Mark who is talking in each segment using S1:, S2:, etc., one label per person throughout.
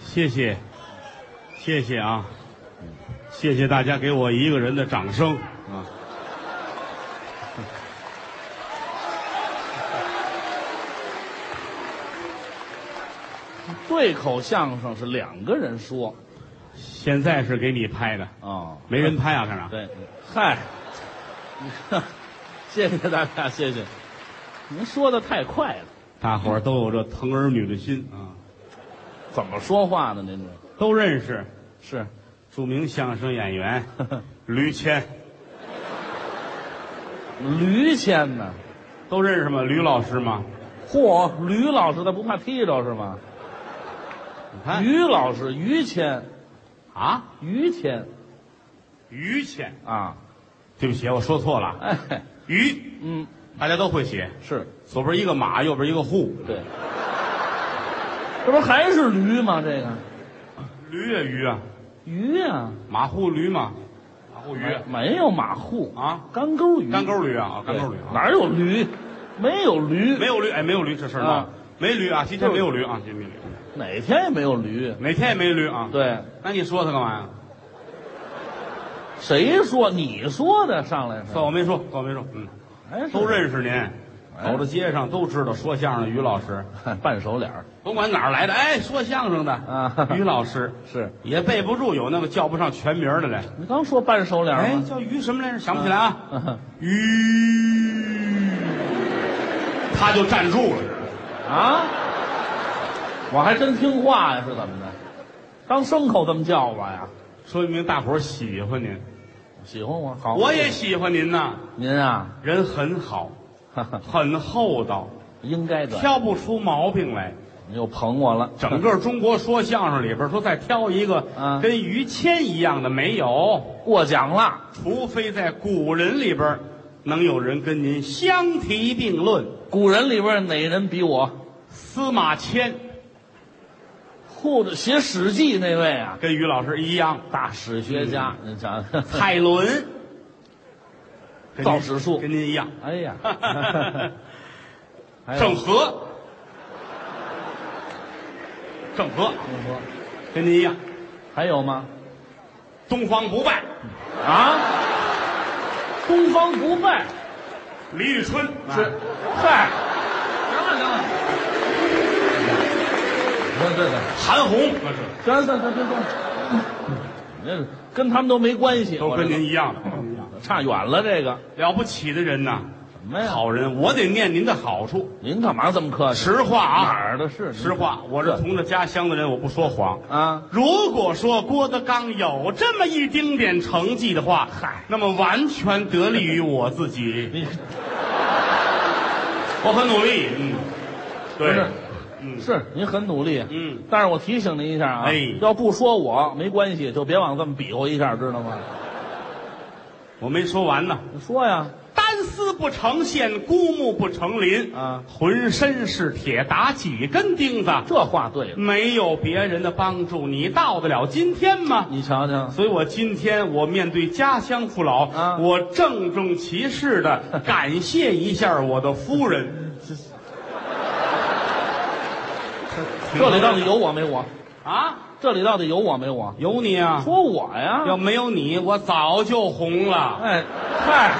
S1: 谢谢，谢谢啊，谢谢大家给我一个人的掌声啊！
S2: 对口相声是两个人说
S1: 现在是给你拍的，
S2: 啊，
S1: 没人拍啊，干啥？
S2: 对，嗨， 谢谢大家，谢谢，您说的太快了，
S1: 大伙儿都有这疼儿女的心啊，
S2: 怎么说话呢？您这
S1: 都认识
S2: 是，
S1: 著名相声演员 吕谦，
S2: 驴谦呢？
S1: 都认识吗？吕老师吗？
S2: 嚯，吕老师他不怕踢着是吗？
S1: 你看
S2: 于老师，于谦，
S1: 啊，
S2: 于谦
S1: 于谦，
S2: 啊，
S1: 对不起，我说错了，
S2: 哎，
S1: 于，
S2: 嗯，
S1: 大家都会写，
S2: 是
S1: 左边一个马，右边一个户，
S2: 对，这不还是驴吗？这个
S1: 驴呀驴啊，
S2: 鱼啊，
S1: 马户驴嘛，马户驴
S2: 没有马户
S1: 啊，
S2: 干沟鱼，
S1: 干沟驴啊，啊干沟驴
S2: 对
S1: 啊，
S2: 哪有驴？没有 驴，
S1: 没有驴，哎，没有驴这事儿闹
S2: 啊，
S1: 没驴啊，今天没有驴啊，今天没有驴，
S2: 哪天也没有驴。
S1: 哪天也没驴啊，
S2: 对，
S1: 那你说他干嘛呀？
S2: 谁说你说的上来是？
S1: 算我没说，算我没说，嗯，
S2: 哎，
S1: 都认识您，
S2: 哎
S1: 走到街上都知道说相声的于老师，
S2: 识， 半熟脸儿
S1: 甭管哪儿来的，哎，说相声的
S2: 啊。
S1: 于老师
S2: 是，
S1: 也背不住，有那么叫不上全名儿的来，
S2: 你刚说半熟脸儿
S1: 哎，
S2: 吗？
S1: 叫于什么来着？想不起来啊，
S2: 啊
S1: 于，他就站住了。
S2: 啊我还真听话呀，是怎么的？当牲口这么叫我呀？
S1: 说明大伙儿喜欢您，
S2: 喜欢我好，
S1: 我也喜欢您呐。
S2: 您啊，
S1: 人很好，
S2: 哈哈，
S1: 很厚道，
S2: 应该的，
S1: 挑不出毛病来。
S2: 你又捧我了，
S1: 整 个中国说相声里边说再挑一个
S2: 嗯
S1: 跟于谦一样的没有，
S2: 过奖了，
S1: 除非在古人里边能有人跟您相提并论。
S2: 古人里边哪人比我？
S1: 司马迁
S2: 或者写《史记》那位啊，
S1: 跟于老师一样，
S2: 大史学家，
S1: 嗯
S2: 您想 想，
S1: 蔡伦跟您
S2: 造史术
S1: 跟您一 样，
S2: 哎呀，还有
S1: 郑和，郑和
S2: 你说
S1: 跟您一样，
S2: 还有吗？
S1: 东方不败。
S2: 啊，东方不败
S1: 李宇春
S2: 是，
S1: 啊
S2: 嗨，行了行了，对对对，
S1: 韩红，那是
S2: 行了行了，别动，那是跟他们都没关系，
S1: 都
S2: 我
S1: 跟
S2: 这
S1: 您一样的，
S2: 差远了，这个
S1: 了不起的人呐，
S2: 什么哎呀？，
S1: 好人，我得念您的好处。
S2: 您干嘛这么客气？
S1: 实话
S2: 哪
S1: 啊，
S2: 儿的是
S1: 实话，我是同着家乡的人，我不说谎。
S2: 啊？
S1: 如果说郭德纲有这么一丁点成绩的话，嗨，那么完全得力于我自己，
S2: 你
S1: 我很努力，嗯，
S2: 不
S1: 对
S2: 是，
S1: 嗯，
S2: 是您很努力，
S1: 嗯，
S2: 但是我提醒您一下啊，
S1: 哎
S2: 要不说我没关系，就别往这么比划一下，知道吗？
S1: 我没说完呢，
S2: 你说呀，
S1: 单丝不成线，孤木不成林
S2: 啊
S1: 浑身是铁，打几根钉子，
S2: 这话对了，
S1: 没有别人的帮助，你到得了今天吗？
S2: 你瞧瞧，
S1: 所以我今天我面对家乡父老，
S2: 啊
S1: 我郑重其事的感谢一下我的夫人。
S2: 这里到底有我没我？
S1: 啊，
S2: 这里到底有我没我？
S1: 有你啊！
S2: 说我呀？
S1: 要没有你，我早就红了。
S2: 哎，嗨，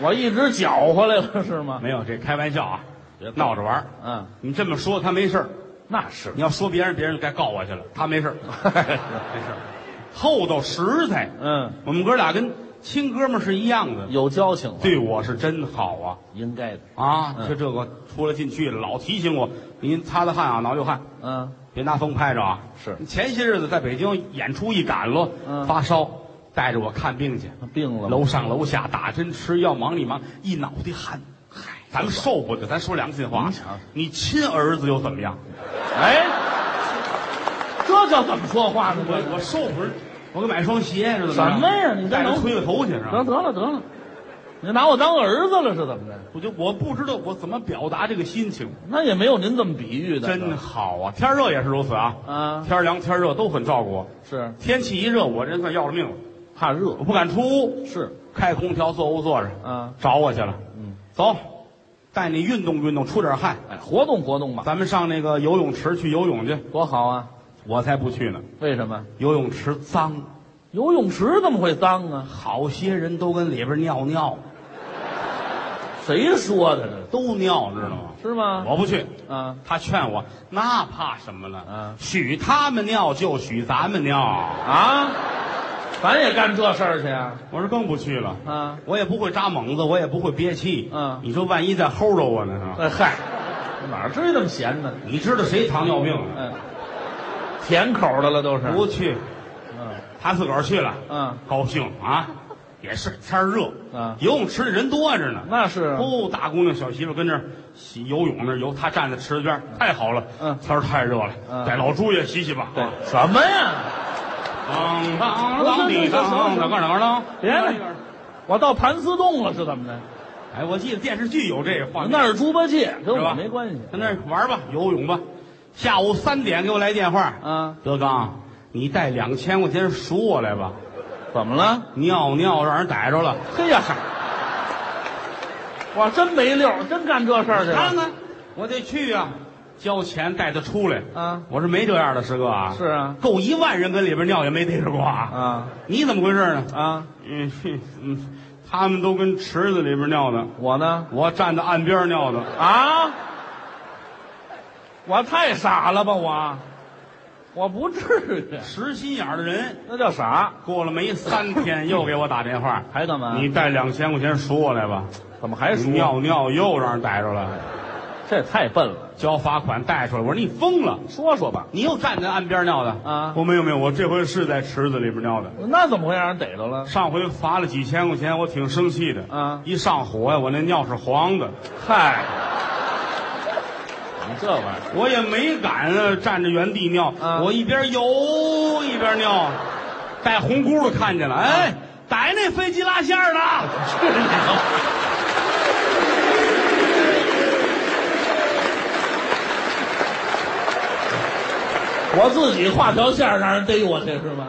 S2: 我一直搅和来了是吗？
S1: 没有，这开玩笑啊
S2: 别，闹
S1: 闹着玩儿。
S2: 嗯，
S1: 你这么说他没事儿，
S2: 那是，
S1: 你要说别人，别人该告我去了。他没事儿， 没事儿，厚道实在。
S2: 嗯，
S1: 我们哥俩跟亲哥们儿是一样的，
S2: 有交情了，
S1: 对我是真好啊。
S2: 应该的，
S1: 啊，
S2: 嗯
S1: 就这个出来进去了，老提醒我，您擦擦汗啊，挠挠汗，
S2: 嗯，
S1: 别拿风拍着啊。
S2: 是
S1: 前些日子在北京演出一赶了，
S2: 嗯
S1: 发烧，带着我看病去，
S2: 病了吗
S1: 楼上楼下打针吃药，忙里忙，一脑袋汗。嗨，咱们受不得，咱说良心话
S2: 您瞧，
S1: 你亲儿子又怎么样？
S2: 哎，这叫怎么说话呢？
S1: 我我受不了，我给买双鞋是怎样
S2: 什么呀你这
S1: 带着
S2: 能
S1: 推个头去是
S2: 得
S1: 吧？
S2: 得了得了，你拿我当儿子了是怎么的？
S1: 我就我不知道我怎么表达这个心情，
S2: 那也没有您这么比喻的，
S1: 真好啊！天热也是如此啊，
S2: 啊，
S1: 天凉天热都很照顾我。
S2: 是
S1: 天气一热，我这算要了命了，
S2: 怕热
S1: 我，不敢出屋，
S2: 是
S1: 开空调坐屋坐着，
S2: 啊，
S1: 找我去了。
S2: 嗯，
S1: 走，带你运动运动，出点汗。
S2: 哎，活动活动吧，
S1: 咱们上那个游泳池去游泳去，
S2: 多好啊！
S1: 我才不去呢。
S2: 为什么？
S1: 游泳池脏，
S2: 游泳池怎么会脏啊？
S1: 好些人都跟里边尿尿，
S2: 谁说的呢？
S1: 都尿，知道吗？
S2: 是吗？
S1: 我不去。
S2: 啊，
S1: 他劝我，那怕什么了？
S2: 嗯
S1: 许他们尿就许咱们尿。
S2: 啊，咱也干这事儿去啊！
S1: 我说更不去了。
S2: 啊，
S1: 我也不会扎猛子，我也不会憋气。
S2: 嗯
S1: 你说万一再齁着我呢？是吧
S2: 哎嗨，哪儿至于那么闲呢？
S1: 你知道谁糖尿病啊？
S2: 嗯，甜口的了都是。
S1: 不去，
S2: 嗯
S1: 他自个儿去了，
S2: 嗯，
S1: 高兴啊，也是天儿热，
S2: 嗯
S1: 游泳池里人多着呢。
S2: 那是啊
S1: 哦，大姑娘小媳妇跟那儿洗游泳那儿游，她站在池子边儿，太好了，
S2: 嗯
S1: 天儿太热了，
S2: 嗯
S1: 给老朱也洗洗吧。
S2: 对，什么呀？
S1: 当当当
S2: 行
S1: 滴
S2: 行行
S1: 当，
S2: 行
S1: 当个当当。
S2: 别了，我到盘丝洞了是怎么的？
S1: 哎，我记得电视剧有这个画面，
S2: 那是猪八戒，跟
S1: 是吧
S2: 我没关系。
S1: 跟那儿玩吧，游泳吧。下午三点给我来电话，
S2: 啊，
S1: 德刚，你带两千块钱赎我来吧，
S2: 怎么了？
S1: 尿尿让人逮着了。
S2: 嘿呀，我真没溜儿，真干这事儿去
S1: 看
S2: 了。
S1: 看，我得去啊，交钱带他出来。
S2: 啊，
S1: 我说没这样的，师哥啊，
S2: 是啊，
S1: 够一万人跟里边尿也没逮着过啊。
S2: 啊
S1: 你怎么回事呢？
S2: 啊，
S1: 嗯哼嗯，他们都跟池子里边尿的，
S2: 我呢？
S1: 我站在岸边尿的。
S2: 啊，我太傻了吧我，我不至于，
S1: 实心眼儿的人，
S2: 那叫傻，
S1: 过了没三天又给我打电话，
S2: 还干嘛？
S1: 你带两千块钱赎啊我来吧。
S2: 怎么还说？
S1: 尿尿又让人逮着了，
S2: 这太笨了，
S1: 交罚款带出来。我说你疯了，
S2: 说说吧，
S1: 你又站在岸边尿的
S2: 啊
S1: 我没有没有，我这回是在池子里边尿的。
S2: 那怎么会让人逮着了？
S1: 上回罚了几千块钱，我挺生气的。
S2: 啊
S1: 一上火呀、我那尿是黄的，
S2: 嗨，你这玩意儿，
S1: 我也没敢啊站着原地尿，
S2: 啊
S1: 我一边游一边尿，带红轱辘看
S2: 啊
S1: 见了，哎，逮那飞机拉线儿的，
S2: 我自己画条线儿让人逮我去是吗？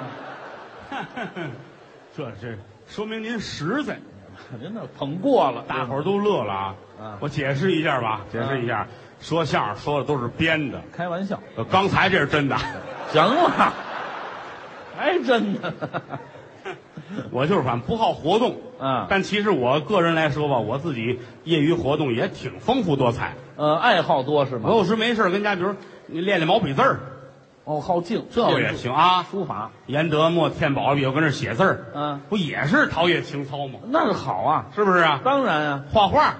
S1: 这是说明您实在。
S2: 您那捧过了，
S1: 大伙儿都乐了啊！
S2: 嗯
S1: 我解释一下吧，解释一下，说相声说的都是编的，
S2: 开玩笑，
S1: 呃刚才这是真 的，
S2: 行了，还真的，
S1: 我就是反正不好活动。
S2: 嗯
S1: 但其实我个人来说吧，我自己业余活动也挺丰富多彩。
S2: 呃，爱好多是
S1: 我
S2: 吗？
S1: 有时没事儿跟家，比如你练练毛笔字儿，
S2: 哦，好静，
S1: 这个也行啊。
S2: 书法，
S1: 颜德墨、天宝笔，我跟这儿写字儿，
S2: 嗯，
S1: 不也是陶冶情操吗？
S2: 那是好啊，
S1: 是不是啊？
S2: 当然啊，
S1: 画画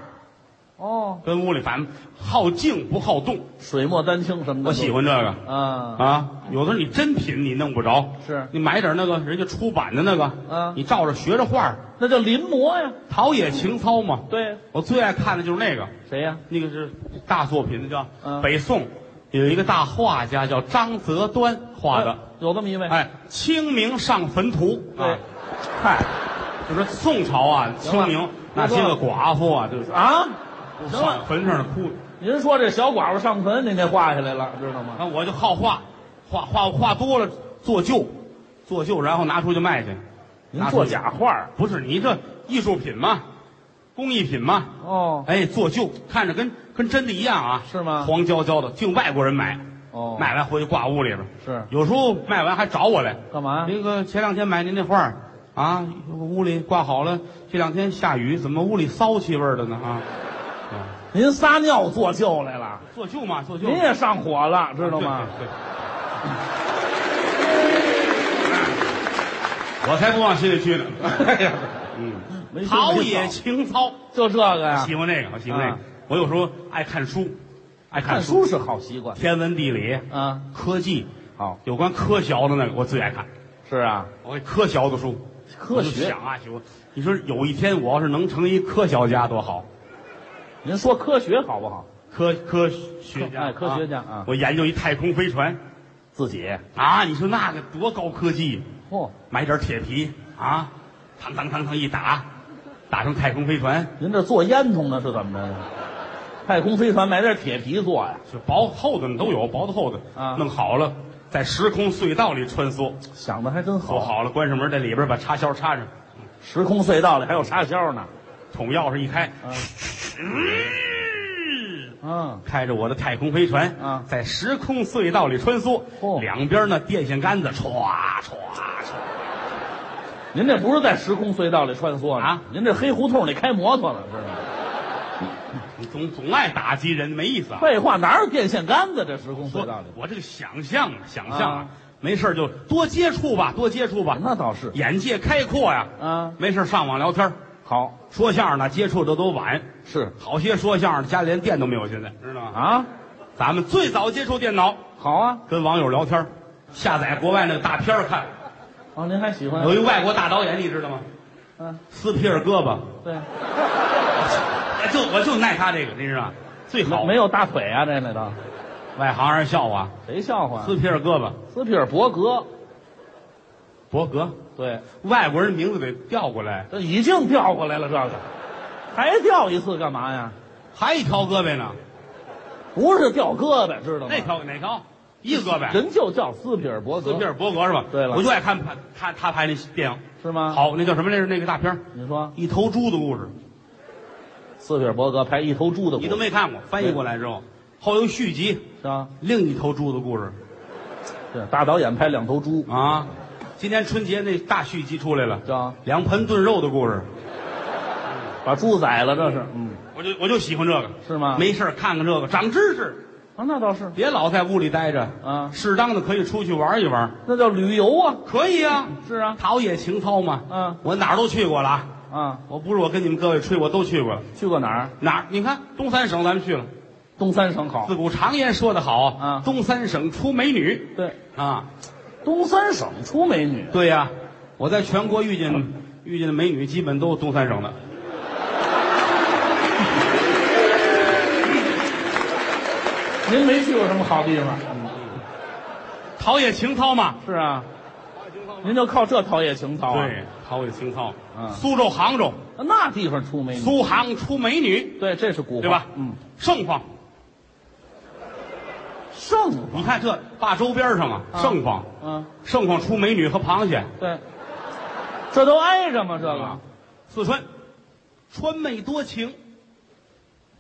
S2: 哦，
S1: 跟屋里反正好静不好动，
S2: 水墨丹青什么的，
S1: 我喜欢这个。
S2: 啊，
S1: 啊，有的时候你真品你弄不着，
S2: 是
S1: 你买点那个人家出版的那个，
S2: 嗯
S1: 你照着学着画，
S2: 那叫临摹呀，
S1: 陶冶情操嘛。
S2: 对，
S1: 我最爱看的就是那个，
S2: 谁呀？
S1: 那个是大作品，那叫、
S2: 嗯
S1: 北宋有一个大画家叫张择端画的，
S2: 呃有这么一位，
S1: 哎，《清明上坟图》啊
S2: 对，，
S1: 嗨，就说宋朝啊，
S2: 行了
S1: 清明那
S2: 大哥
S1: 些个寡妇啊，就是
S2: 啊，行了
S1: 上坟上的哭，
S2: 您说这小寡妇上坟，您给画下来了，知道吗？
S1: 啊，我就好画，画画画多了做旧，做旧然后拿出去卖去。
S2: 您做假画
S1: 不是你这艺术品嘛，工艺品嘛，
S2: 哦
S1: 哎，做旧，看着跟跟真的一样啊，
S2: 是吗
S1: 黄焦焦的，净外国人买，
S2: 哦，嗯
S1: 买完回去挂屋里边，
S2: 是
S1: 有时候卖完还找我来，
S2: 干嘛？
S1: 那个前两天买您那画儿啊，屋里挂好了，这两天下雨，怎么屋里骚气味儿的呢啊？啊
S2: 您撒尿做旧来了，
S1: 做旧嘛，做旧，
S2: 您也上火了，知道吗？
S1: 对？对对哎我才不往心里去呢，哎呀，嗯，
S2: 没羞没臊
S1: 陶冶情操。
S2: 就这个呀
S1: 喜，欢这个，我喜欢这个
S2: 啊。
S1: 我有时候爱看书，爱
S2: 看
S1: 书，
S2: 书是好习惯
S1: 天文地理、
S2: 啊，
S1: 科技，啊
S2: 好
S1: 有关科学的那个我最爱看。
S2: 是啊，
S1: 我科学的书，
S2: 科
S1: 我就
S2: 学
S1: 想，啊，我你说有一天我要是能成一科学家多好，
S2: 您说科学好不好？
S1: 科科学家，
S2: 哎科学家啊
S1: 我研究一太空飞船
S2: 自己，
S1: 啊，你说那个多高科技，
S2: 嚯，
S1: 买点铁皮啊，当当当当一打，打成太空飞船，
S2: 您这做烟囱呢是怎么着呢？太空飞船买点铁皮做呀，
S1: 就薄厚的都有，薄的厚的
S2: 啊
S1: 弄好了，在时空隧道里穿梭。
S2: 想的还真
S1: 做
S2: 好。
S1: 好了，关上门，在里边把插销插上，
S2: 时空隧道里还有插销呢，
S1: 捅钥匙一开，
S2: 啊
S1: 嗯
S2: 嗯，
S1: 开着我的太空飞船，
S2: 啊哦
S1: 在时空隧道里穿梭，
S2: 嚯
S1: 两边呢电线杆子歘歘歘，
S2: 您这不是在时空隧道里穿梭呢
S1: 啊？
S2: 您这黑胡同里开摩托了是吗？
S1: 你总总爱打击人，没意思啊。
S2: 废话，哪有电线杆子？这时空隧道
S1: 我
S2: 里，
S1: 我这个想象啊，想象啊
S2: 啊，
S1: 没事儿就多接触吧，多接触吧，
S2: 那倒是
S1: 眼界开阔呀。
S2: 啊，
S1: 没事儿上网聊天儿，
S2: 好
S1: 说相声呢，接触的都晚，
S2: 是
S1: 好些说相声的家里连电都没有，现在知道吗？
S2: 啊，
S1: 咱们最早接触电脑，
S2: 好啊，
S1: 跟网友聊天儿，下载国外那个大片儿看。
S2: 哦，您还喜欢
S1: 有？一外国大导演，你知道吗？
S2: 嗯，
S1: 嗯斯皮尔胳膊，
S2: 对，
S1: 我哎就我就耐他这个，你知道吗？最好
S2: 没没有大腿啊，这里头
S1: 外行人笑话，
S2: 谁笑话？
S1: 啊
S2: 啊
S1: 斯皮尔胳膊，
S2: 斯皮尔伯格，
S1: 伯格，
S2: 对，
S1: 外国人名字得调过来，
S2: 这已经调过来了，这个还调一次干嘛呀？
S1: 还一条胳膊呢。
S2: 不是掉胳膊，知道吗
S1: 那？条哪条？一个胳膊。
S2: 人就叫斯皮尔伯格，
S1: 斯皮尔伯格是吧？
S2: 对了
S1: 我就爱看他他他拍那电影。
S2: 是吗？，
S1: 好，那叫什么来着？那个大片儿
S2: 你说
S1: 一头猪的故事，
S2: 斯皮尔伯格拍一头猪的故
S1: 你
S2: 事
S1: 都没看过，翻译过来之后，后有续集，
S2: 是吧？
S1: 另一头猪的故事
S2: 对，大导演拍两头猪，
S1: 啊。今年春节那大续集出来了，
S2: 叫
S1: 两盆炖肉的故事，
S2: 把猪宰了，这是，嗯，
S1: 我就我就喜欢这个，
S2: 是吗？
S1: 没事儿看看这个，长知识，
S2: 啊，那倒是
S1: 别老在屋里待着，
S2: 啊，
S1: 适当的可以出去玩一玩，
S2: 那叫旅游啊，
S1: 可以啊，
S2: 是啊，
S1: 陶冶情操嘛。
S2: 嗯
S1: 我哪儿都去过了啊，
S2: 啊，
S1: 我不是我跟你们各位吹，我都去过了。
S2: 去过哪儿？
S1: 哪儿？你看东三省咱们去了。
S2: 东三省好，
S1: 自古常言说得好，
S2: 啊
S1: 东三省出美女
S2: 对，
S1: 啊，
S2: 东三省出美女，
S1: 对呀、我在全国遇见遇见的美女，基本都是东三省的。
S2: 您没去过什么好地方？
S1: 陶冶情操嘛，
S2: 是啊，您就靠这陶冶情操啊，
S1: 对，陶冶情操。
S2: 嗯
S1: 苏州、杭州，
S2: 那地方出美女，
S1: 苏杭出美女，
S2: 对，这是古话，
S1: 对吧
S2: 嗯，
S1: 盛况。
S2: 盛
S1: 你看这大周边上啊，
S2: 啊
S1: 盛况，
S2: 嗯，
S1: 盛况出美女和螃蟹。
S2: 对，这都挨着吗？这个
S1: 啊四川，川妹多情。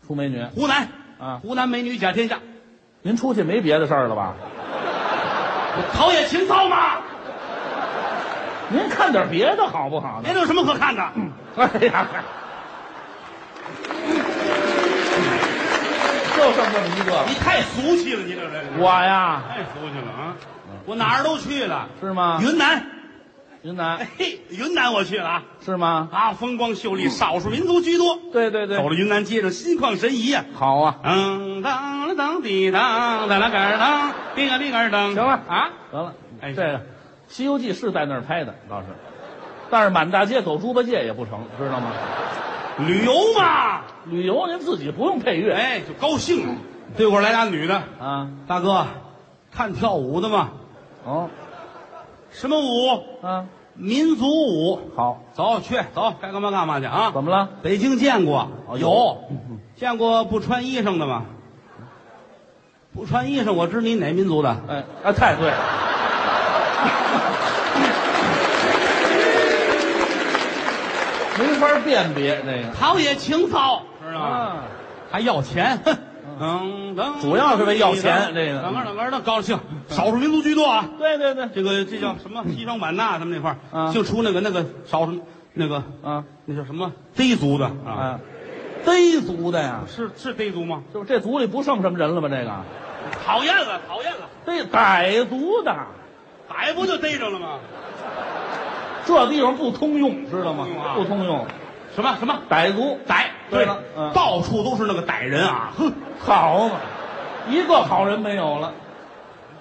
S2: 出美女，
S1: 湖南，
S2: 啊
S1: 湖南美女甲天下，
S2: 您出去没别的事儿了吧？
S1: 陶冶情操嘛，
S2: 您看点别的好不好呢
S1: 别？的有什么可看的？
S2: 哎呀，就剩这么一个。
S1: 你太俗气了，你这人。
S2: 我呀，
S1: 太俗气了啊！
S2: 嗯
S1: 我哪儿都去了，
S2: 是吗？
S1: 云南，
S2: 云南
S1: 嘿，云南我去了啊！
S2: 是吗？
S1: 啊，风光秀丽，少数民族居多。
S2: 对对嗯对
S1: 走，了云南街上，心旷神怡呀、
S2: 好啊，
S1: 嗯，当了当滴当，当啦杆儿当，滴个滴个儿当。
S2: 行了
S1: 啊，
S2: 得了。
S1: 哎
S2: 这个《西游记》是在那儿拍的，倒是，但是满大街走猪八戒也不成，知道吗？
S1: 旅游嘛，
S2: 旅游您自己不用配乐
S1: 哎，就高兴了。对过来俩女的，
S2: 啊。
S1: 大哥，看跳舞的嘛，
S2: 哦，
S1: 什么舞？
S2: 啊，
S1: 民族舞。
S2: 好，
S1: 走去，走，该干嘛干嘛去啊！
S2: 怎么了？
S1: 北京见过，
S2: 哦
S1: 有，见过不穿衣裳的吗？不穿衣裳，我知你哪民族的？
S2: 哎啊，太对 了。没法辨别这个，
S1: 陶冶情操，知道吗？
S2: 啊，
S1: 还要钱，哼嗯，等
S2: 主要是为要钱这个嗯
S1: 两个两个人的高兴，少数民族居多啊。
S2: 对对对，
S1: 这个这叫什么？西双版纳他们那块儿，
S2: 啊
S1: 就出那个那个少数那个
S2: 啊
S1: 那叫什么傱族的啊？
S2: 啊，傱族的呀，
S1: 是是傱族吗？
S2: 就这族里不剩什么人了吧？这个
S1: 讨厌了，讨厌了，
S2: 这傣族的，
S1: 逮不就逮着了吗？
S2: 这地方不通用，知道
S1: 不
S2: 吗
S1: 通用啊？
S2: 不通用，
S1: 什么什么？
S2: 傣族
S1: 逮，
S2: 对了嗯
S1: 到处都是那个逮人啊，哼，
S2: 好嘛，一个好人没有了，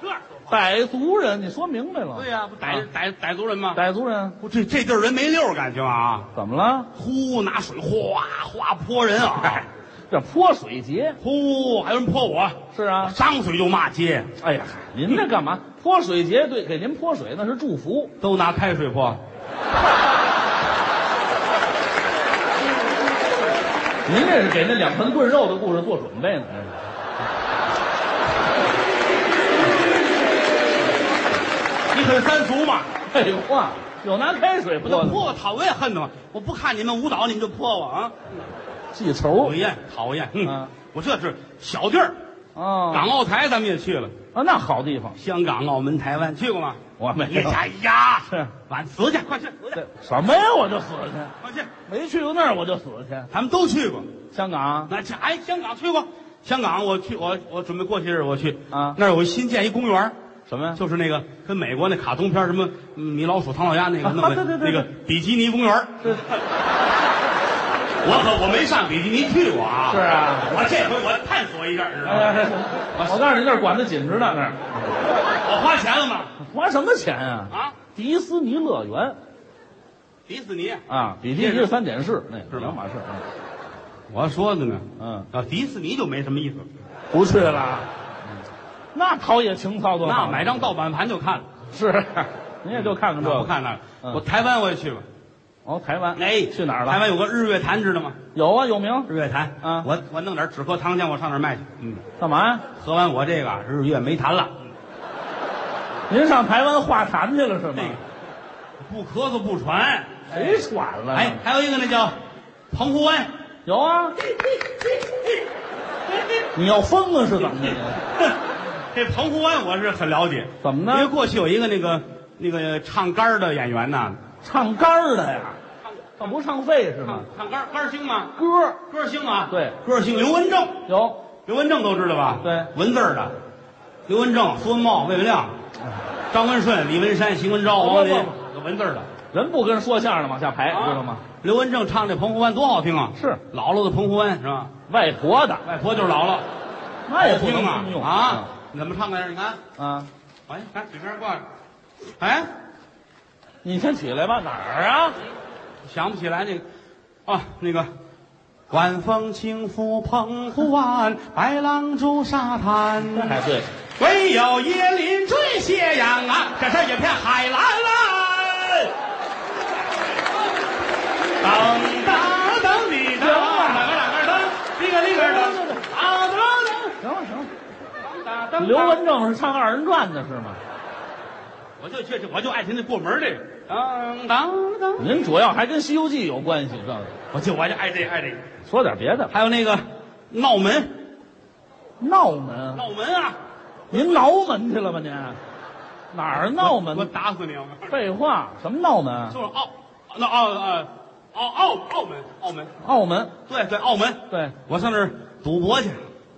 S1: 这样
S2: 傣族人，你说明白了？
S1: 对呀、不逮
S2: 啊
S1: 逮逮族人吗？
S2: 傣族人
S1: 不这这地儿人没溜儿，感情啊，
S2: 怎么了？
S1: 呼拿水哗哗泼人啊，
S2: 这泼水节
S1: 呼还有人泼我，
S2: 是啊，
S1: 张嘴就骂街，
S2: 哎呀，您这干嘛？泼水节对，给您泼水那是祝福。
S1: 都拿开水泼，
S2: 您这是给那两盆炖肉的故事做准备呢。
S1: 你很三俗嘛，
S2: 废话，有拿开水
S1: 不
S2: 泼
S1: 就
S2: 的，
S1: 泼我讨厌恨的吗？我不看你们舞蹈，你们就泼我啊，
S2: 记仇
S1: 讨。厌讨厌，嗯，
S2: 啊，
S1: 我这是小地儿，
S2: 哦，
S1: 港澳台咱们也去了，
S2: 啊，那好地方，
S1: 香港、澳门、台湾去过吗？
S2: 我没有
S1: 哎呀
S2: 是，
S1: 晚死去，快去，死去
S2: 这什么呀？我就死去，
S1: 快去，
S2: 没去过那儿我就死去。
S1: 咱们都去过。
S2: 香港
S1: 那这哎，香港去过，香港我去，我我准备过些日子我去
S2: 啊
S1: 那儿有一新建一公园儿，
S2: 什么呀？
S1: 就是那个跟美国那卡通片儿什么嗯米老鼠、唐老鸭那个
S2: 啊
S1: 弄的，
S2: 对对对
S1: 那个比基尼公园 儿。
S2: 是
S1: 我可我没上比基尼去过啊，
S2: 是啊
S1: 我这回我探索一下，知道
S2: 哎呀
S1: 吗？
S2: 我告诉你，那儿管得紧着呢，那儿
S1: 我花钱了吗？
S2: 花什么钱啊？
S1: 啊，
S2: 迪斯尼乐园
S1: 迪士尼，
S2: 啊，比迪尼是三点式，那
S1: 是吗
S2: 两码事啊。
S1: 我说的呢，
S2: 嗯，
S1: 啊，迪士尼就没什么意思，
S2: 不去了。那陶冶情操多好啊
S1: 那买张盗版盘就看了，
S2: 是，你也就看看这
S1: 那
S2: 个。
S1: 不看那个。
S2: 嗯
S1: 我台湾我也去过，
S2: 哦，台湾
S1: 哎，
S2: 去哪儿了？
S1: 台湾有个日月潭，知道吗？
S2: 有啊，有名。
S1: 日月潭
S2: 啊
S1: 我我弄点止咳糖浆，我上那儿卖去。嗯，
S2: 干嘛呀？
S1: 喝完我这个啊日月没痰了，
S2: 您上台湾画坛去了是
S1: 这个
S2: 吗？
S1: 不咳嗽不喘。
S2: 谁喘了？
S1: 哎，，还有一个那叫澎湖 湾，
S2: 有啊。你要疯了是怎么的？
S1: 这澎湖湾我是很了解，
S2: 怎么呢
S1: 因为过去有一个那个那个唱杆儿的演员呐，
S2: 唱肝儿的呀？他不唱肺是吗
S1: 唱？唱杆儿杆儿星嘛，
S2: 歌儿
S1: 歌星啊，
S2: 对，
S1: 歌星刘文正，
S2: 有
S1: 刘文正都知道吧？
S2: 对
S1: 文字儿的，刘文正、苏文茂、魏文亮、张文顺、李文山、邢文昭、王林
S2: 哦不不，
S1: 文字儿的。
S2: 人不跟说相声的往下排，
S1: 啊
S2: 知道吗？？
S1: 刘文正唱这《澎湖湾》多好听啊！
S2: 是
S1: 姥姥的《澎湖湾》是吧？
S2: 外婆的，
S1: 外婆就是姥姥，
S2: 那也不
S1: 听
S2: 能
S1: 啊
S2: 这么用
S1: 啊！你怎么唱的？你看，
S2: 啊！
S1: 哎，看嘴边挂着，哎，
S2: 你先起来吧，哪儿啊？
S1: 想不起来那个啊，那个。晚风轻拂澎湖湾，白浪逐沙滩。
S2: 那还哎对，
S1: 唯有椰林缀斜阳啊，这是一片海蓝蓝。噔噔噔你噔，哪个哪个噔，这个那个噔，啊噔
S2: 行了行了，
S1: 噔噔噔。
S2: 刘文正是唱二人转的是吗？
S1: 我就确实我就爱听那过门这个，当当当，
S2: 您主要还跟《西游记》有关系，这个
S1: 我就我就爱这个爱这个。
S2: 说点别的。
S1: 还有那个闹门，
S2: 闹门，
S1: 闹门啊，
S2: 您挠门去了吧您？哪儿闹门？
S1: 我打死你！我告诉
S2: 废话，什么闹门
S1: 你
S2: 啊？
S1: 就是澳，那澳呃，澳澳澳门，澳门，
S2: 澳门，
S1: 对对，澳门。
S2: 对
S1: 我上那儿赌博去，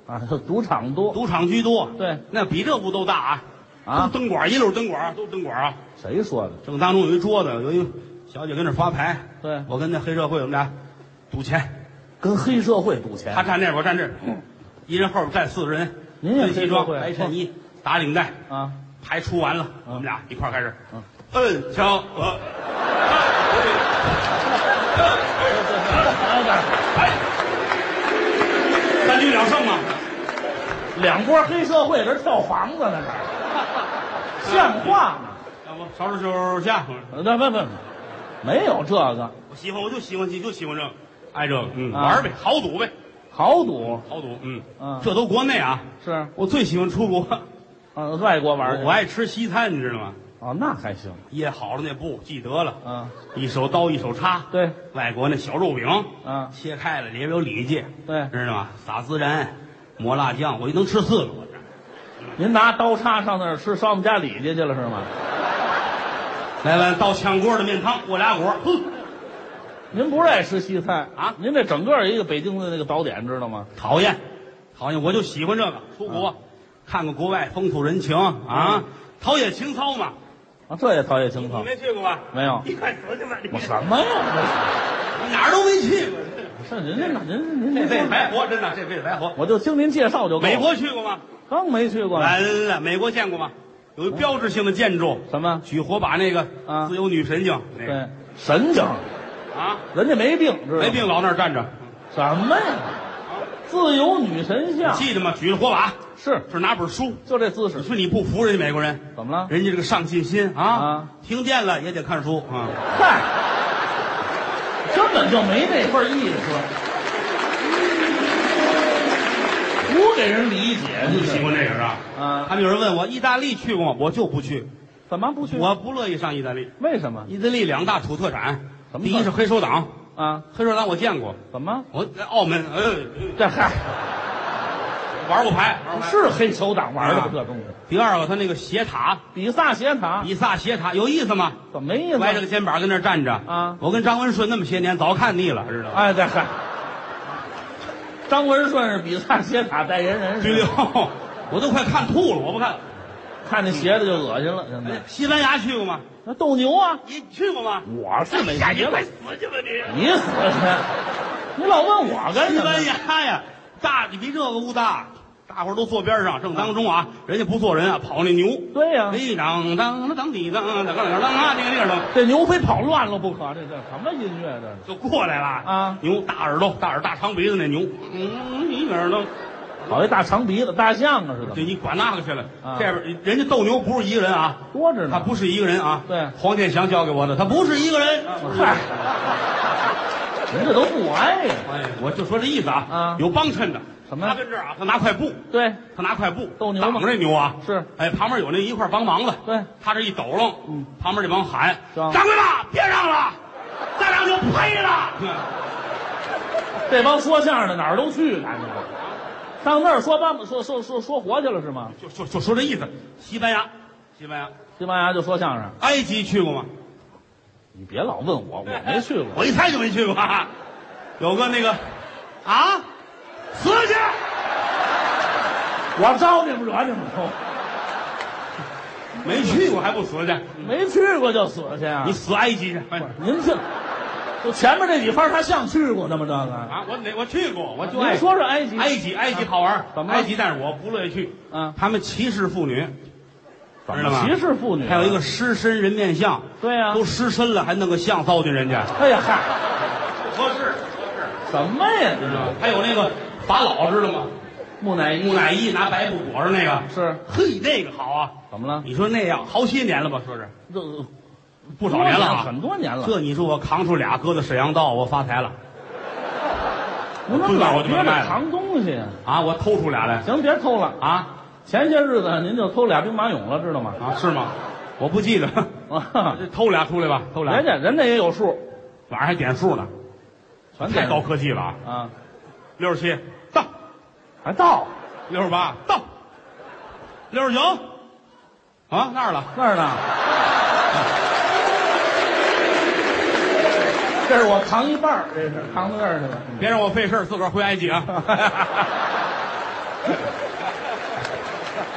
S2: 啊，赌场多。
S1: 赌场居多。
S2: 对，
S1: 那比这屋都大啊！
S2: 啊
S1: 都灯管一溜灯管，都灯管啊！
S2: 谁说的？
S1: 正当中有一桌子，有一小姐跟那儿发牌。
S2: 对
S1: 我跟那黑社会我们俩赌钱，
S2: 跟黑社会赌
S1: 他
S2: 钱？
S1: 站这儿，我站这儿，一人后边站四个人，
S2: 哎嗯您也
S1: 军西装、
S2: 黑社会
S1: 白衬衣、打领带，
S2: 啊，
S1: 牌出完了，
S2: 嗯
S1: 我们俩一块儿开始
S2: 嗯，
S1: 摁敲呃，三局两胜嘛，
S2: 两波黑社会这跳房子呢，这儿像话吗？
S1: 要不少数手下。
S2: 呃那不不，没有这个
S1: 我喜欢，我就喜欢，就喜欢这个，爱这个，嗯，
S2: 啊
S1: 玩儿呗，豪赌呗，
S2: 豪赌
S1: 豪赌，嗯，
S2: 嗯
S1: 这都国内啊，
S2: 是，
S1: 我最喜欢出国，
S2: 嗯，外国玩
S1: 我
S2: 去
S1: 我爱吃西餐，你知道吗？
S2: 哦，那还行，
S1: 掖好了那布，记得了，
S2: 嗯，
S1: 一手刀一手叉，
S2: 对，
S1: 外国那小肉饼，
S2: 嗯，
S1: 切开了里边有里脊，
S2: 对
S1: 知道吗？撒孜然，抹辣酱，我就能吃四个，我这
S2: 您拿刀叉上那儿吃烧饼夹里脊去了是吗？
S1: 来碗倒炝锅的面汤，过俩果，哼，
S2: 您不是爱吃西餐
S1: 啊
S2: 您这整个一个北京的那个早点知道吗？
S1: 讨厌，讨厌，我就喜欢这个，出国、看看国外风土人情啊，陶冶情操嘛。
S2: 啊，这也陶冶情操
S1: 你没去过吧？
S2: 没有？
S1: 你快死去吧！你
S2: 我什么呀？
S1: 哪儿都没去过，
S2: 这人家人人
S1: 这
S2: 人
S1: 辈子
S2: 家
S1: 白活，真的，这辈子白活。
S2: 我就听您介绍就够了。
S1: 美国去过吗？
S2: 刚没去过呢，
S1: 完了，哎美国见过吗？有一标志性的建筑，
S2: 什么？
S1: 举火把那个
S2: 啊
S1: 自由女神经，那个
S2: 对，神经，
S1: 啊，
S2: 人家没病，知道吗
S1: 没病老那儿站着，
S2: 什么呀？自由女神像
S1: 记得吗？举着火把，
S2: 是
S1: 这儿拿本书。
S2: 就这姿
S1: 你
S2: 势，
S1: 说你不服人家美国人，
S2: 怎么了？
S1: 人家这个上进心啊
S2: 啊，
S1: 停电了也得看书啊。
S2: 嗨，根本就没那份意思，不给人理解，
S1: 你
S2: 这
S1: 喜
S2: 是
S1: 欢这个是吧？
S2: 啊？
S1: 他们有人问我意大利去过吗？我就不去，
S2: 怎么不去？
S1: 我不乐意上意大利。
S2: 为什么
S1: 意大利两大土特产，
S2: 什么
S1: 第一是黑手党，
S2: 啊？
S1: 黑手党我见过，
S2: 怎么？
S1: 我在澳门，呃，
S2: 这嗨，
S1: 玩过牌，玩过牌。
S2: 是黑手党玩的吗
S1: 啊？
S2: 这东西，
S1: 第二个，他那个斜塔，
S2: 比萨斜塔
S1: 比萨斜塔有意思吗？
S2: 怎么没意思？
S1: 歪着个肩膀跟那儿站着
S2: 啊
S1: 我跟张文顺那么些年，早看腻了，知道吗？
S2: 哎，对，嗨，张文顺是比萨斜塔代言人，
S1: 拘留，我都快看吐了，我不看了。
S2: 看那鞋子就恶心了，真
S1: 哎
S2: 的。
S1: 西班牙去过吗？
S2: 那斗牛啊，
S1: 你去过吗？
S2: 我是
S1: 哎
S2: 没
S1: 呀你
S2: 去过
S1: 快，死去吧你！
S2: 你死去！你老问我干
S1: 西
S2: 什么？
S1: 班牙呀，大你比这个屋大，大伙儿都坐边上，正当中啊，人家不坐人啊，跑那牛，
S2: 对呀、
S1: 哎，当当当底当当当当当啊，这个这个的
S2: 这牛非跑乱了不可，这叫什么音乐这是？
S1: 就过来了
S2: 啊
S1: 牛大耳朵，大耳大长鼻子那牛，嗯，你耳朵。
S2: 好一大长鼻子大象啊似
S1: 对
S2: 的，
S1: 你管那个去了，
S2: 啊
S1: 这边人家斗牛不是一个人啊，
S2: 多着
S1: 他
S2: 呢。
S1: 不是一个人啊。
S2: 对啊
S1: 黄健翔教给我的，他不是一个人。
S2: 嗨，人这都不挨呀、
S1: 哎，我就说这意思啊，
S2: 啊
S1: 有帮衬的。
S2: 什么
S1: 他跟这儿啊，他拿块布，
S2: 对，
S1: 他拿块布
S2: 斗牛嘛
S1: 挡着这牛啊。
S2: 是，
S1: 哎，旁边有那一块帮忙的，
S2: 对，
S1: 他这一抖楞，
S2: 嗯，
S1: 旁边这帮喊：“
S2: 张
S1: 掌柜的，别让了，再让就赔了。
S2: 这帮说相声的哪儿都去，感觉上那儿说八说说说说活去了是吗？
S1: 就”就就说这意思。西班牙，西班牙，
S2: 西班牙就说相声，
S1: 埃及去过吗？
S2: 你别老问我，我没去过。
S1: 我一猜就没去过。有个那个，啊，死去！
S2: 我招你们惹你们了？
S1: 没去过还不死去？
S2: 没去过就死去啊！
S1: 你死埃及去！哎
S2: 您 这，就前面这几番他像去过的吗？这个，
S1: 啊，我哪我去过，我就爱
S2: 您说说埃及，
S1: 埃及，埃及好玩。
S2: 怎么了
S1: 埃及，但是我不乐意去。
S2: 嗯，
S1: 他们歧视妇女，
S2: 怎
S1: 知道
S2: 么
S1: 吗
S2: 歧视啊妇女？啊
S1: 还有一个，狮身人面像，
S2: 对呀、
S1: 都狮身了还弄个像糟践人家，
S2: 哎呀嗨，
S1: 不合适，
S2: 什么呀？这
S1: 知道
S2: 是
S1: 吗？还有那个法老知道吗？
S2: 木乃
S1: 木
S2: 伊
S1: 乃伊拿白布裹上那个，
S2: 是
S1: 嘿，那个好啊！
S2: 怎么了？
S1: 你说那样好些年了吧？说是
S2: 这
S1: 不少年了啊，
S2: 很多年了。
S1: 这你说我扛出俩搁到沈阳道，我发财了
S2: 您
S1: 不
S2: 怎
S1: 知
S2: 么
S1: 道
S2: 老
S1: 我就
S2: 憋
S1: 卖
S2: 着
S1: 了
S2: 藏东西啊？
S1: 啊！我偷出俩来
S2: 行，别偷了。
S1: 啊
S2: 前些日子您就偷俩兵马俑了，知道吗？
S1: 啊，是吗？我不记得，
S2: 啊，
S1: 这偷俩出来吧，偷俩
S2: 人，家人家也有数，
S1: 晚上还点数呢，
S2: 全
S1: 太
S2: 给
S1: 高科技了啊！
S2: 啊，
S1: 六十七到，
S2: 还到
S1: 六十八到，六十九啊那儿了，
S2: 那儿呢。这是我扛一半儿，这是扛到那儿去了。
S1: 别让我费事儿，自个儿回埃及 啊！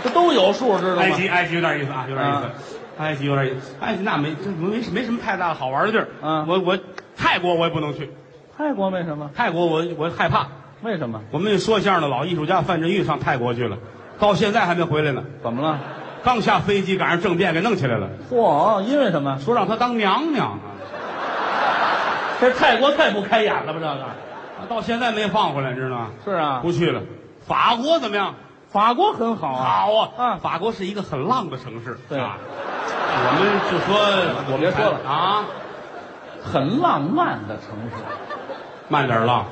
S2: 这都有数，知道吗？
S1: 埃及，埃及有点意思啊，有点意思。埃及有点意思，埃及那没这没没什么太大的好玩的地儿。
S2: 嗯
S1: 我我泰国我也不能去，
S2: 泰国为什么？
S1: 泰国我我害怕。
S2: 为什么？
S1: 我们说相声的老艺术家范振钰上泰国去了，到现在还没回来呢。
S2: 怎么了？
S1: 刚下飞机赶上政变给弄起来了，
S2: 嚯，因为什么？
S1: 说让他当娘娘，
S2: 这泰国太不开眼了吧？这
S1: 啊到现在没放回来，知道吗？
S2: 个是啊，
S1: 不去了。法国怎么样？
S2: 法国很好啊。
S1: 好啊，
S2: 嗯
S1: 法国是一个很浪的城市。
S2: 对
S1: 啊，我们就说我们
S2: 别说了
S1: 啊，
S2: 很浪漫的城市。
S1: 慢点浪，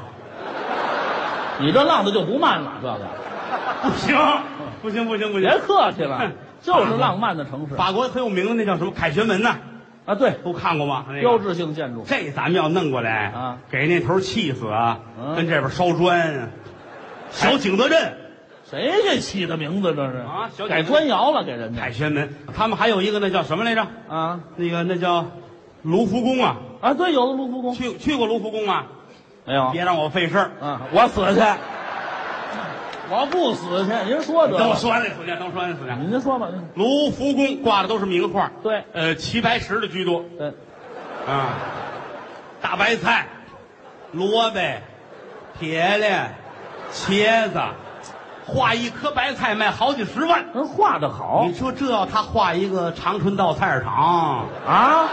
S2: 你这浪的就不慢了，这个
S1: 不行，不行，不行，不行
S2: 别。客气了
S1: 哼，
S2: 就是浪漫的城市
S1: 哎法国很有名的那叫什么凯旋门呐，
S2: 啊。对，
S1: 都看过吗？那个
S2: 标志性建筑
S1: 这咱们要弄过来
S2: 啊，
S1: 给那头气死啊！
S2: 嗯哎
S1: 跟这边烧砖，啊小景德镇、
S2: 谁给起的名字？这是
S1: 啊小姐哎
S2: 改砖窑了，给人家
S1: 凯旋门，他们还有一个那叫什么来着？
S2: 啊
S1: 那个那叫卢浮宫啊，
S2: 啊！对，有的卢浮宫
S1: 去去过卢浮宫吗？
S2: 没有？
S1: 别让我费事儿，
S2: 嗯，我死去，我不死去，您说得
S1: 等我
S2: 了，
S1: 说完这死去，等我说完这死去。
S2: 您说吧。
S1: 卢浮宫挂的都是名画，
S2: 对
S1: 呃，齐白石的居多
S2: 对，
S1: 啊，大白菜、萝卜、铁链、茄子，画一颗白菜卖好几十万。
S2: 人画的好
S1: 你说这要他画一个长春道菜市场，
S2: 啊。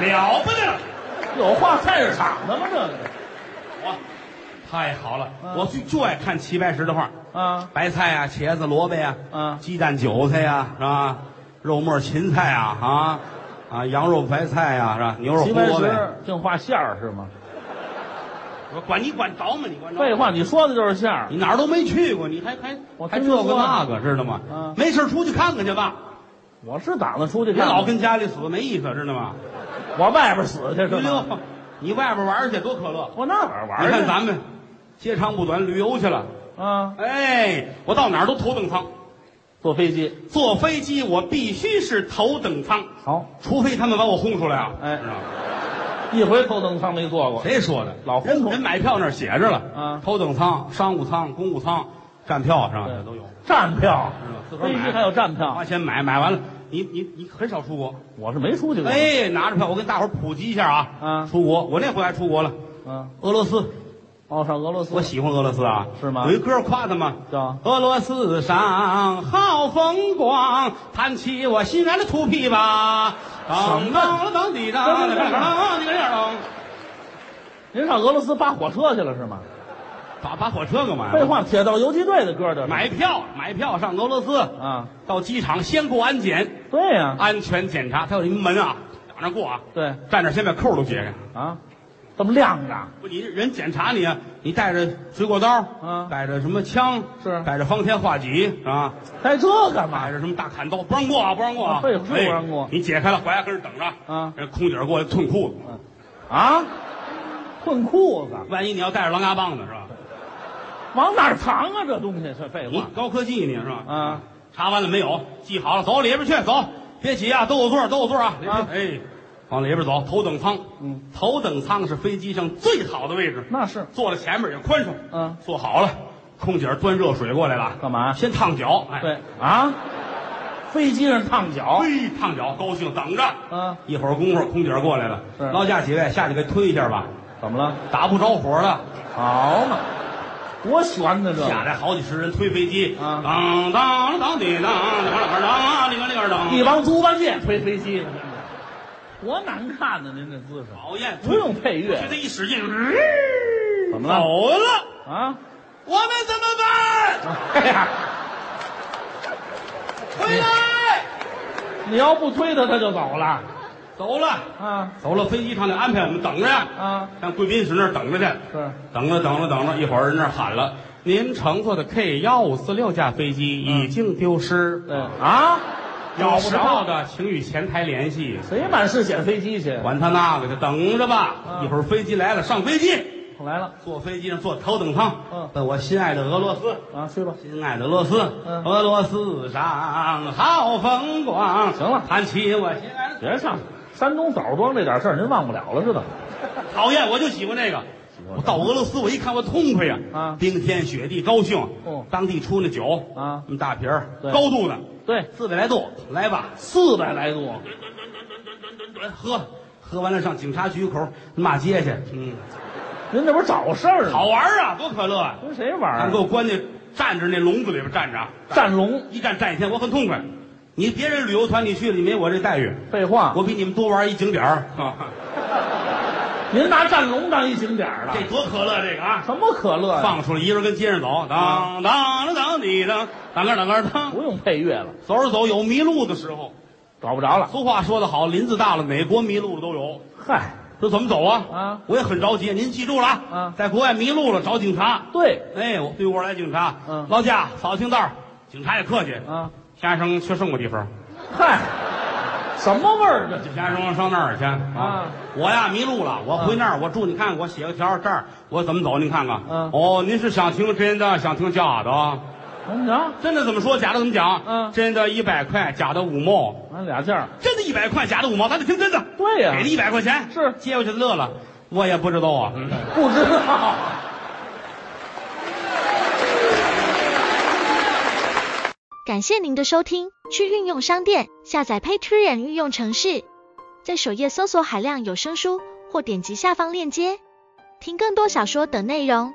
S1: 那了不得了！
S2: 有画菜市场的吗？这个
S1: 我太好了，
S2: 嗯
S1: 我就就爱看齐白石的画，
S2: 啊，
S1: 白菜啊、茄子、萝卜呀、
S2: 嗯
S1: 鸡蛋、韭菜呀、是吧？肉末、芹菜啊，啊啊，羊肉、白菜呀、是吧？牛肉、胡
S2: 齐白
S1: 萝卜。
S2: 石净画馅儿是吗？
S1: 我管你管着吗？你管着？
S2: 废话，你说的就是馅儿。
S1: 你哪儿都没去过，你还还
S2: 我
S1: 还
S2: 真
S1: 这个
S2: 说过
S1: 那个，知道吗？
S2: 嗯
S1: 没事儿出去看看去吧，
S2: 我是打算出去
S1: 别
S2: 看看，
S1: 老跟家里死没意思，知道吗？
S2: 我外边死去
S1: 溜
S2: 是
S1: 溜
S2: 吗？，
S1: 哎你外边玩儿去多可乐！
S2: 我那哪儿玩
S1: 你
S2: 儿
S1: 看
S2: 去？
S1: 咱们接长不短，旅游去了，
S2: 啊，
S1: 哎，我到哪儿都头等舱，
S2: 坐飞机
S1: 坐飞机我必须是头等舱，
S2: 好，
S1: 除非他们把我轰出来啊！
S2: 哎
S1: 知道吗
S2: 一回头等舱没坐过，
S1: 谁说的？
S2: 老
S1: 人
S2: 轰出来
S1: 人买票那儿写着了，
S2: 啊
S1: 头等舱、商务舱、公务舱、站票上
S2: 对
S1: 都有，
S2: 站票
S1: 知道吗，自个儿
S2: 飞机
S1: 买哎
S2: 还有站票，
S1: 花钱买，买完了你你你很少出国，
S2: 我是没出去过，
S1: 哎，拿着票我跟大伙儿普及一下啊，
S2: 啊
S1: 出国，我那回还出国了，
S2: 嗯，
S1: 俄罗斯，
S2: 哦，上俄罗斯
S1: 我喜欢俄罗斯啊，
S2: 是吗
S1: 有一歌夸他嘛，
S2: 叫
S1: 俄罗斯上好风光，弹起我心爱的土琵琶。当当了当地当，当当地当，
S2: 您上俄罗斯扒火车去了是吗？
S1: 打扒火车干嘛呀？
S2: 废，话，铁道游击队的歌这是
S1: 买票买票上俄罗斯，
S2: 啊，
S1: 到机场先过安检，
S2: 对呀，
S1: 安全检查，它有一门啊，往那过啊，
S2: 对
S1: 站那儿先把扣儿都解开。
S2: 啊，这么亮着，
S1: 不，你人检查你啊，你带着水果刀，
S2: 嗯
S1: 带着什么枪，
S2: 是
S1: 带着方天画戟啊，
S2: 带这干嘛
S1: 买着什么大砍刀，不让过啊，不让过啊！
S2: 啊对是不让过
S1: 哎你解开了，回来跟这儿等着。
S2: 啊
S1: 人空姐儿过来吞裤子，
S2: 啊？混裤子，
S1: 万一你要带着狼牙棒呢，是吧？
S2: 往哪儿藏啊？这东西是废
S1: 你
S2: 话
S1: 高科技，你是吧？
S2: 啊！
S1: 查完了没有？记好了，走里边去，走，别挤啊，都有座儿，都有座儿啊！里边
S2: 啊
S1: 哎，往里边走，头等舱。
S2: 嗯，
S1: 头等舱是飞机上最好的位置，
S2: 那是
S1: 坐在前面也宽敞。
S2: 嗯，
S1: 坐好了，空姐儿端热水过来了，
S2: 干嘛？
S1: 先烫脚。哎，
S2: 对啊，飞机上烫脚，
S1: 嘿，烫脚，高兴，等着。
S2: 啊，
S1: 一会儿功夫，空姐儿过来了，
S2: 是
S1: 劳驾几位，下去给推一下吧。
S2: 怎么了？
S1: 打不着火了，
S2: 好嘛，多悬呢这
S1: 下
S2: 个，
S1: 来好几十人推飞机，
S2: 啊
S1: 当当当滴当，里边里边当，里边里边当，
S2: 一帮猪八戒推飞机呢，多难看呢！您这姿势，
S1: 讨厌，
S2: 不用配乐
S1: 就这一使劲，
S2: 怎么了
S1: 走了，
S2: 啊！
S1: 我们怎么办？
S2: 哎呀，
S1: 回来，
S2: 你要不推他，他就走了
S1: 走了，
S2: 啊
S1: 走了，飞机上就安排我们等着呀，
S2: 啊！
S1: 上贵宾室那儿等着去，
S2: 是
S1: 等着等着等着，一会儿人那儿喊了。您乘坐的 K 幺五四六架飞机已经丢失，
S2: 嗯对啊，
S1: 有
S2: 咬不
S1: 需要
S2: 着，
S1: 的请与前台联系。
S2: 谁满世捡飞机去？
S1: 管他那个去，等着吧。
S2: 嗯
S1: 一会儿飞机来了，上飞机，
S2: 来了
S1: 坐飞机上坐头等舱。
S2: 嗯
S1: 奔我心爱的俄罗斯，
S2: 啊，去吧。
S1: 心爱的俄罗斯，
S2: 嗯
S1: 俄罗斯上好风光。
S2: 行了
S1: 弹起我心爱的，
S2: 别上山东枣庄这点事儿，您忘不了了是怎么着？
S1: 讨厌，我就喜欢这个。我到俄罗斯，我一看我痛快呀！
S2: 啊
S1: 冰天雪地，高兴。
S2: 哦
S1: 当地出那酒
S2: 啊
S1: 那么大瓶儿，
S2: 对
S1: 高度的，
S2: 对，
S1: 四百来度，来吧，
S2: 四百来度，
S1: 喝。喝完了上警察局口骂街去，嗯，
S2: 您这不是找事儿吗？
S1: 好玩儿啊，多可乐啊！
S2: 跟谁玩
S1: 咱
S2: 儿
S1: 给
S2: 啊？
S1: 我关那站着那笼子里边站着啊，
S2: 战龙，
S1: 一站站一天，我很痛快。你别人旅游团你去了，你没我这待遇，
S2: 废话，
S1: 我比你们多玩一景点儿啊，
S2: 您拿战龙当一景点儿了
S1: 这，多可乐这个啊！
S2: 什么可乐呀？
S1: 放出来，一人跟街上走，当当当当滴当，当个当个当，
S2: 不用配乐了，
S1: 走着走有迷路的时候。
S2: 找不着了。
S1: 俗话说得好，林子大了，哪国迷路的都有。
S2: 嗨，
S1: 这怎么走啊？
S2: 啊，
S1: 我也很着急，您记住了
S2: 啊
S1: 在国外迷路了找警察。
S2: 对，
S1: 哎，我对我来警察，
S2: 嗯
S1: 劳驾，扫清道儿，警察也客气。
S2: 啊，
S1: 先生去什么地方？
S2: 嗨，什么味儿这？
S1: 先生上那儿去
S2: 啊！
S1: 我呀迷路了，我回那儿，我住，你看我写个条儿，这儿我怎么走？您看看。
S2: 嗯
S1: 哦，您是想听真的，想听假的啊？
S2: 您瞧，
S1: 真的怎么说？假的怎么讲？
S2: 嗯
S1: 真的一百块，假的五毛。
S2: 俺俩价儿。
S1: 真的一百块，假的五毛，咱得听真的。
S2: 对呀
S1: 给了一百块钱，
S2: 是嗯
S1: 接过去乐了，我也不知道啊。
S2: 不知道。
S3: 感谢您的收听，去运用商店下载 Patreon 运用城市，在首页搜索海量有声书，或点击下方链接听更多小说等内容。